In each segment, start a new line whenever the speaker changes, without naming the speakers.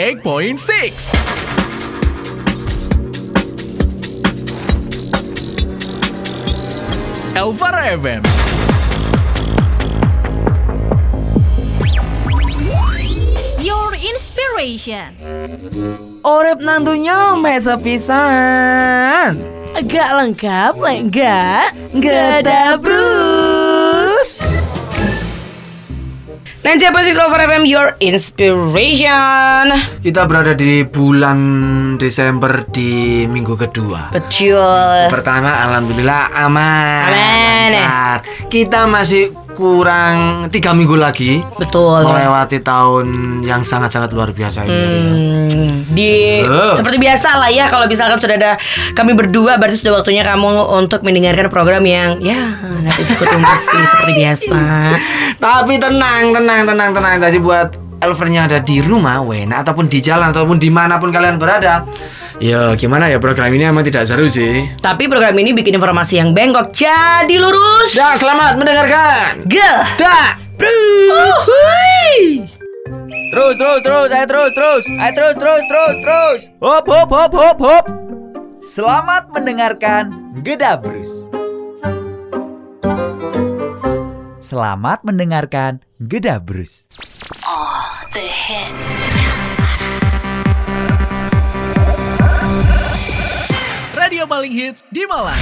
98.6 Elvara FM
Your inspiration
Orep nantunya mesa pisan.
Agak lengkap, lek enggak
Gada Bruce.
Nanti apa sih Over FM Your Inspiration
Kita berada di bulan Desember di minggu kedua.
Betul
Pertama alhamdulillah
Aman.
aman.
ya.
lancar. Kita masih kurang tiga minggu lagi
Betul
melewati tahun yang sangat-sangat luar biasa ini. ya.
Hmm, di
Eh.
seperti biasa lah ya kalau misalkan sudah ada kami berdua berarti sudah waktunya kamu untuk mendengarkan program yang ya nggak ikut emosi seperti biasa
Tapi tenang, tenang, tenang, tenang. Tadi buat Elvernya ada di rumah, Wena ataupun di jalan ataupun dimanapun kalian berada. Ya gimana ya program ini emang tidak seru sih.
tapi program ini bikin informasi yang bengkok jadi lurus
Dan Ya, selamat mendengarkan.
ge
Da.
Oh,
Terus, terus, terus, ayo terus, terus, ayo terus, terus, terus, terus. Hop, hop, hop, hop, hop. Selamat mendengarkan Gedabrus. Selamat mendengarkan Gedabrus.
Radio paling hits di Malang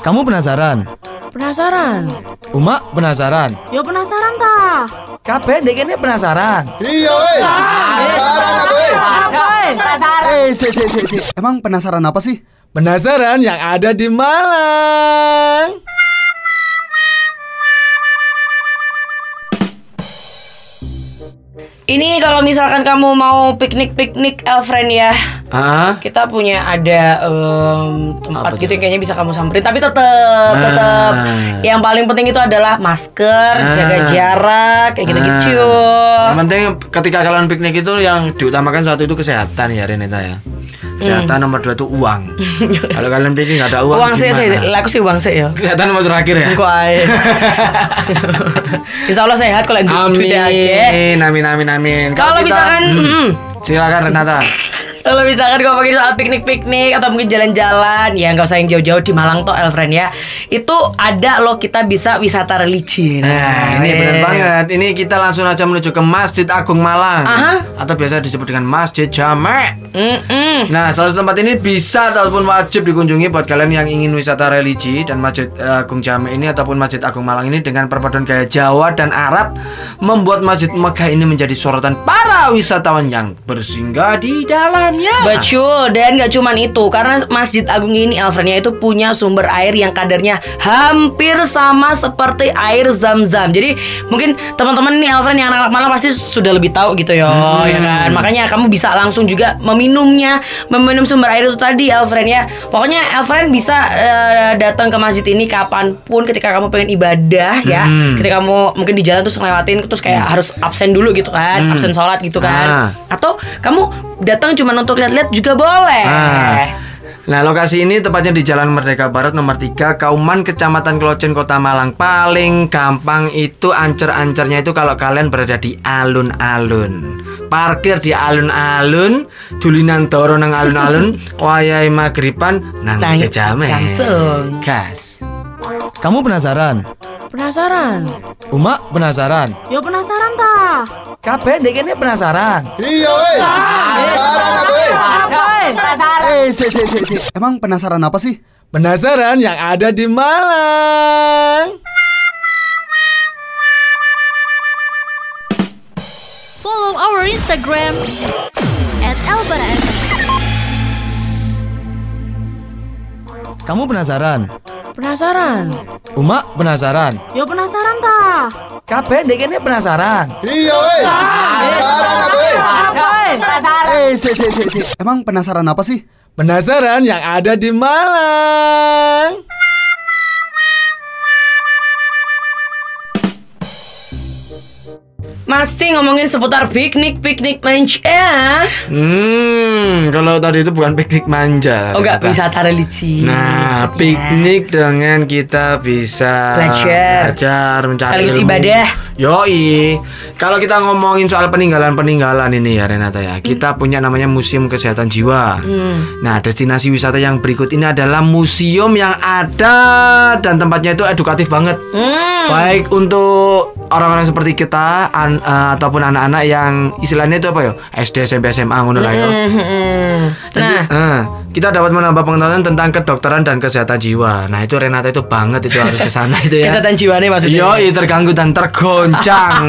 Kamu penasaran?
Penasaran?
Uma penasaran.
Yo penasaran ta?
Kabeh dek ini penasaran.
Iya weh. Penasaran apa weh? Eh, si, si, si, si. Emang penasaran apa sih?
Penasaran yang ada di Malang
ini kalau misalkan kamu mau piknik piknik Elfriend ya
Ah,
kita punya ada em, tempat
Apa
gitu
tuh? Nah.
yang kayaknya bisa kamu samperin tapi tetap tetap yang paling penting itu adalah masker
Nah.
jaga jarak kayak gitu gitu
Ah. yang penting ketika kalian piknik itu yang diutamakan satu itu kesehatan ya Renita
Eh.
ya. Kesehatan nomor dua itu uang. Kalau kalian piknik nggak ada uang,
uang sih sih
gimana?
laku sih uang sih ya
Kesehatan nomor terakhir ya.
Engko ae. Insya Allah sehat kalau yang du- duit aja. eh?
Amin, amin, amin, amin.
Kalau
kita- Hmm.
misalkan, mm.
silakan Renata.
Kalau misalkan kamu pakai saat piknik-piknik atau mungkin jalan-jalan, ya nggak usah yang jauh-jauh di Malang toh, Elfriend ya. Itu ada loh kita bisa wisata religi.
Nah, ini benar banget. Ini kita langsung aja menuju ke Masjid Agung Malang
Aha.
atau biasa disebut dengan Masjid Jamek.
Mm-mm.
Nah, salah satu tempat ini bisa ataupun wajib dikunjungi buat kalian yang ingin wisata religi dan Masjid eh, Agung Jame ini ataupun Masjid Agung Malang ini dengan perpaduan gaya Jawa dan Arab membuat Masjid Megah ini menjadi sorotan para wisatawan yang bersinggah di dalamnya.
Betul, dan gak cuman itu Karena Masjid Agung ini Alfrednya itu punya sumber air yang kadarnya hampir sama seperti air zam-zam Jadi mungkin teman-teman nih Alfred yang anak-anak malam pasti sudah lebih tahu gitu ya, ya kan? Makanya kamu bisa langsung juga meminumnya Meminum sumber air itu tadi Alfred ya Pokoknya Alfred bisa eh, datang ke masjid ini kapanpun ketika kamu pengen ibadah ya Ketika kamu mungkin di jalan terus ngelewatin terus kayak harus absen dulu gitu kan Absen sholat gitu
Ah.
kan atau kamu datang cuma untuk lihat-lihat juga boleh.
Ah. Nah, lokasi ini tepatnya di Jalan Merdeka Barat nomor 3, Kauman, Kecamatan Klocen, Kota Malang. Paling gampang itu ancer-ancernya itu kalau kalian berada di alun-alun. Parkir di alun-alun, dulinan doro nang alun-alun, wayahe magriban nang
Nang-
jejame.
langsung.
Gas.
Kamu penasaran?
Penasaran?
Uma penasaran?
Yo penasaran ta?
Kabeh dek ini penasaran.
Iya weh. Penasaran apa weh? Eh, si, si, si, si. Emang penasaran apa sih?
Penasaran yang ada di Malang
Follow our Instagram At Elvara FM.
Kamu penasaran?
Penasaran?
Uma penasaran?
Yo penasaran ta?
Kabeh dek ini penasaran.
Iya weh. Penasaran apa weh?
Ah,
Eh, si, si, si, si. Emang penasaran apa sih?
Penasaran yang ada di Malang
Masih ngomongin seputar piknik, piknik ya? manja.
Hmm, kalau tadi itu bukan piknik manja.
Oh enggak,
ternyata.
wisata religi.
Nah, piknik dengan kita bisa
Belajar.
belajar, mencari
Sekaligus
ilmu.
ibadah.
Yoi. Kalau kita ngomongin soal peninggalan-peninggalan ini ya Renata ya,
Hmm.
kita punya namanya Museum Kesehatan Jiwa. Nah, destinasi wisata yang berikut ini adalah museum yang ada dan tempatnya itu edukatif banget.
Hmm.
Baik untuk orang-orang seperti kita an- eh, ataupun anak-anak yang istilahnya itu apa ya? SD, SMP, SMA ngono lah ya.
Hmm.
Jadi,
Nah,
eh, kita dapat menambah pengetahuan tentang kedokteran dan kesehatan jiwa. Nah, itu Renata itu banget itu harus ke sana itu ya.
kesehatan jiwa nih maksudnya.
Yoi, terganggu dan tergoncang.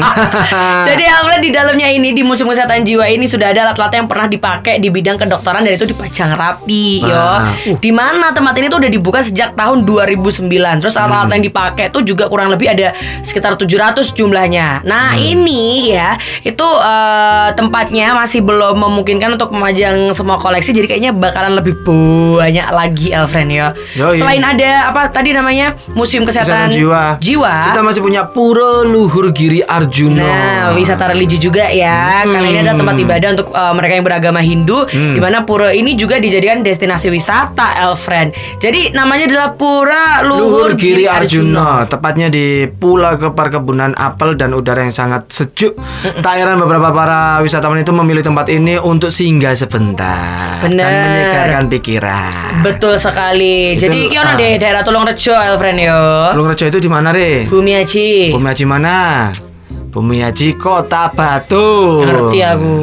Jadi Alfred di dalamnya ini di musim kesehatan jiwa ini sudah ada alat-alat yang pernah dipakai di bidang kedokteran dan itu dipajang rapi, yo.
Wah. Uh.
Di mana tempat ini tuh udah dibuka sejak tahun 2009. Terus
Hmm.
alat-alat yang dipakai tuh juga kurang lebih ada sekitar 700 jumlahnya. Nah,
Hmm.
ini ya itu eh, tempatnya masih belum memungkinkan untuk memajang semua koleksi jadi kayaknya bakalan lebih banyak lagi Alfred yo.
Yoi.
Selain ada apa tadi namanya Museum Kesehatan,
kesehatan jiwa.
Jiwa.
Kita masih punya Pura Luhur Giri Arjuna.
Nah, wisata religi juga ya.
Hmm.
Karena ini adalah tempat ibadah untuk eh, mereka yang beragama Hindu, di mana pura ini juga dijadikan destinasi wisata, Elfriend. Jadi namanya adalah Pura Luhur,
Luhur Giri Arjuna, tepatnya di Pulau Keperkebunan Apel dan udara yang sangat sejuk. Tak heran beberapa para wisatawan itu memilih tempat ini untuk singgah sebentar dan
Bener.
menyegarkan pikiran.
Betul sekali.
Itu-
Jadi kiono
ah.
deh daerah Tulungrejo, Elfriend yo.
Tulung Rejo itu di mana, Re?
Bumi Haji.
Bumi Haji mana? Bumi Haji Kota Batu.
Ngerti aku.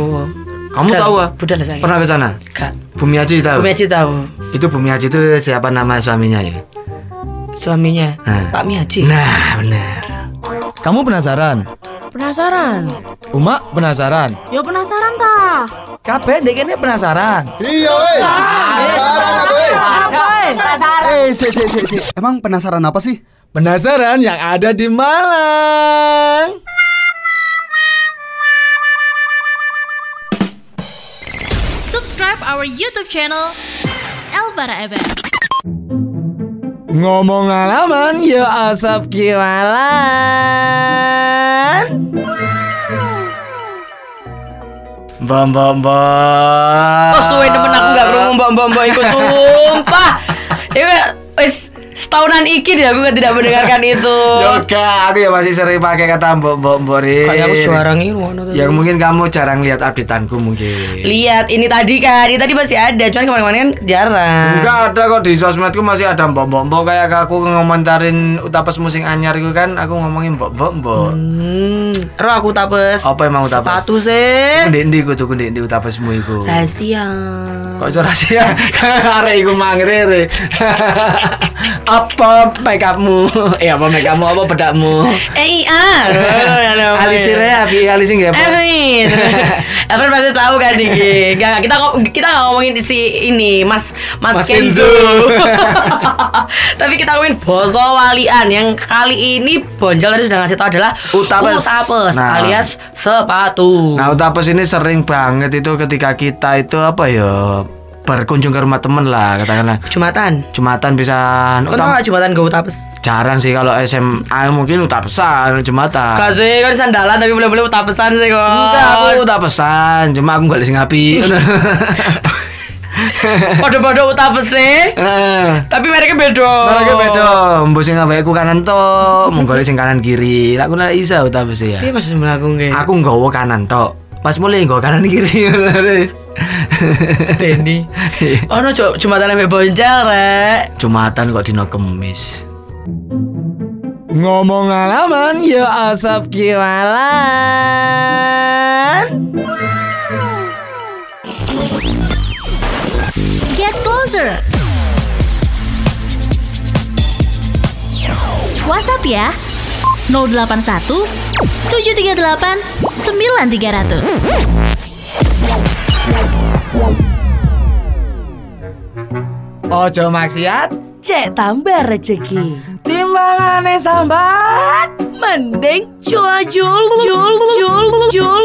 Kamu
Budal-
tahu ah?
budal saya.
Pernah ke sana?
Kak,
Bumi Haji tahu.
Bumi Haji tahu
Itu Bumi Haji itu siapa nama suaminya ya?
suaminya
Ah.
Pak Mi Haji.
Nah, benar.
Kamu penasaran?
Penasaran?
Uma penasaran?
Yo penasaran ta?
Kabeh dek ini penasaran.
Iya weh. Penasaran apa weh? Eh, si, si, si, si. Emang penasaran apa sih?
Penasaran yang ada di Malang?
Subscribe our YouTube channel Elvara FM.
Ngomong alaman, ya asap kiwalan.
Mbak, mbak, mbak.
Oh suwe temen aku gak kerungu mbak-mbak iku Sumpah Ya wis Setahunan iki deh aku gak tidak mendengarkan itu
Yoga, aku ya masih sering pakai kata mbok mbok mbok Rin.
Kayak aku suara ngiru
Yang mungkin kamu jarang lihat updateanku mungkin.
Lihat ini tadi kan Ini tadi masih ada Cuman kemarin-kemarin kan jarang
Enggak ada kok di sosmedku masih ada mbok mbok mbok kayak aku ngomentarin utapes musing anyar itu kan aku ngomongin mbok mbok mbok.
Hmm, Roh aku tapes
Apa emang utapes?
Sepatu sih
Kundi ndi ku tuh kundi ndi utapesmu iku.
Rahasia
Kok iso rahasia? Arek iku mangrere. apa make upmu? Eh apa make upmu apa bedakmu?
Eh iya
Alisire abi alising nggih apa?
Erwin, Erwin pasti tahu kan Diki. Gak, gak, kita ngo- kita nggak ngomongin si ini Mas Mas,
Mas
Kenzo.
Kenzo.
Tapi kita ngomongin Boso Walian yang kali ini Bonjol tadi sudah ngasih tahu adalah
Utapes.
Utapes,
Nah.
alias sepatu.
Nah, utapes ini sering banget itu ketika kita itu apa ya berkunjung ke rumah temen lah katakanlah
Jumatan.
jumatan bisa
Kau tahu
utam-
nggak Jumatan gak utapes?
jarang sih kalau SMA mungkin utapesan jumatan
Kasih kan sandalan tapi boleh-boleh utapesan sih kok.
Ah. enggak aku utapesan cuma aku nggak lising api
Podo-podo utapes sih. Tapi mereknya beda.
Orangnya Eh. beda, mbok sing awake ku kanan tok, mung golek sing kanan kiri. Lah aku nek iso utapes ya.
Iya masih melakukan kayak.
Aku nggawa kanan tok. Pas mulai nggawa kanan kiri.
Denny. Oh no, cu- jumatan sampai bonjol rek.
Jumatan kok dino kemis.
Ngomong alaman, ya asap kiwalan.
Get closer. WhatsApp ya. 081 738 9300.
Ojo maksiat.
Cek tambah rezeki.
Timbangane sambat.
Mending jual jual jual jual jual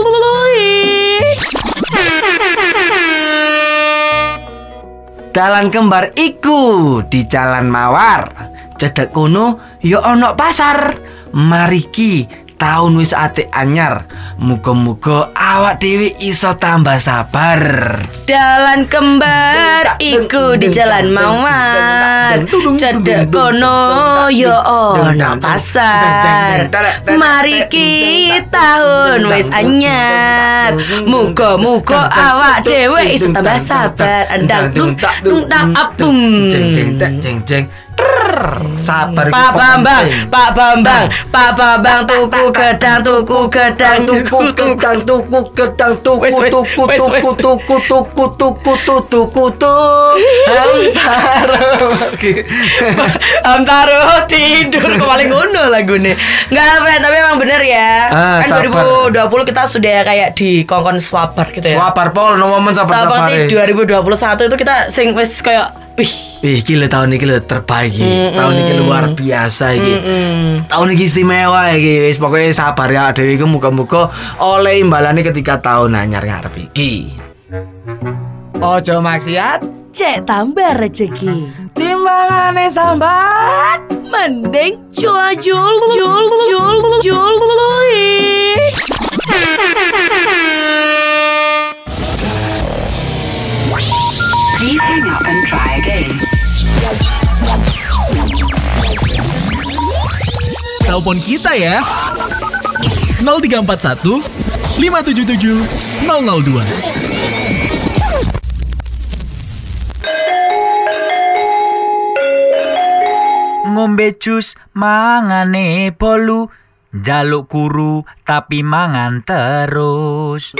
Dalan kembar iku di Jalan Mawar. Cedek kuno ya ono pasar. Mariki tahun wis atik anyar. Muga-muga awak dhewe iso tambah sabar.
Dalan kembar iku di jalan mawar Cedek kono yo ono pasar Mari kita tahun wis anyar Muga-muga awak dewe iso tambah sabar Endang dung tak dung tak apum
Jeng jeng tek, jeng jeng. Trrrr. Sabar iku
Pak Bambang,
penting.
Pak Bambang, Pak Bambang tuku gedang, tuku gedang, tuku
tuku
tuku
tukang tuku gedang tuku
Wes, wes,
tuku
wes, wes.
tuku tuku tuku tuku tuku tuku antara
Antaro tidur kok paling ngono lagu nih Nggak apa tapi emang bener ya
Ah,
Kan
sabar.
2020 kita sudah kayak di kongkon swabar gitu ya
Swapar pol no momen sabar
Swabar
sabar. eh.
nih 2021 itu kita sing wis kayak Wih
Ih, gila tahun ini lo terbaik. iki. Tahun ini luar biasa iki. Tahun ini istimewa iki. Wis pokoknya sabar ya dhewe iku muga-muga oleh imbalannya ketika tahun anyar ngarep iki.
Ojo maksiat
Cek tambah rezeki
Timbangane sambat
Mending cua jul jul jul jul jul
Telepon kita ya. 0341 577 002.
Ngombe jus mangane bolu Jaluk kuru tapi mangan terus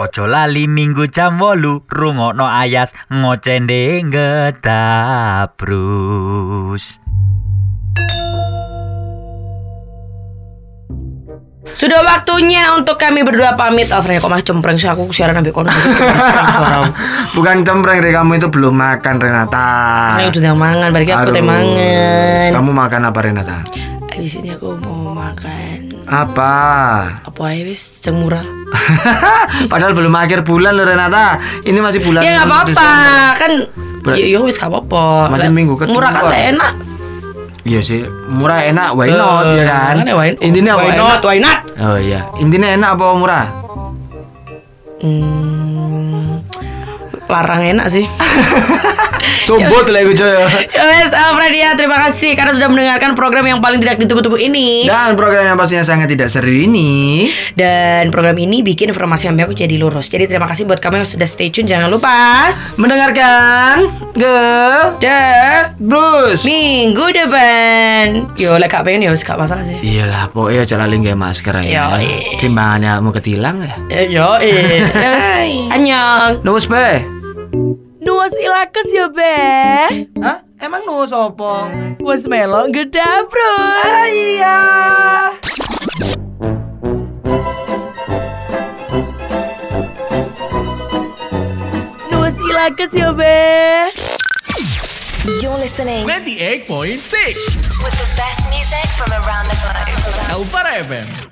Ojo lali minggu jam wolu rungokno ayas ngocende ngedabrus
Sudah waktunya untuk kami berdua pamit Alfred kok mas cempreng sih aku siaran ambil kono
Nah. Bukan cempreng Re, kamu itu belum makan Renata.
Ini udah yang mangan, balik aku
Aduh.
teh mangan
Kamu makan apa Renata?
Abis ini aku mau makan
Apa?
Apa aja wis, yang murah
Padahal belum akhir bulan loh Renata. Ini masih bulan.
Ya nggak apa-apa
Desember.
kan.
Ber-
Ya ya wis nggak apa-apa.
Masih
Lah,
minggu kedua.
Murah kan lah, enak.
Iya sih, murah enak, why not ya kan?
Makanya Eh, why not?
Intinya apa?
why
enak?
not? Why not?
Oh iya, intinya enak apa murah?
Hmm, larang enak sih.
Sobot lah gue coy.
Yes, Alfredia, terima kasih karena sudah mendengarkan program yang paling tidak ditunggu-tunggu ini.
Dan program yang pastinya sangat tidak seru ini.
Dan program ini bikin informasi kami aku jadi lurus. Jadi terima kasih buat kamu yang sudah stay tune. Jangan lupa mendengarkan
Ge,
the
Bruce.
minggu depan. Yo, lek gak pengen ya wis gak masalah sih.
Iyalah, pokoknya jalan lagi nggak masker ya.
Yoi.
Timbangannya mau ketilang ya.
Eh, Yo, eh. Ya wis. Annyeong.
Nuwes be.
Nuas ilakes ya beh
Hah? Emang nuwus opo?
Was melok gedabros iya Nuas ilakes ya beh
You're listening
98.6
with the best music from around the globe.
Alpha FM.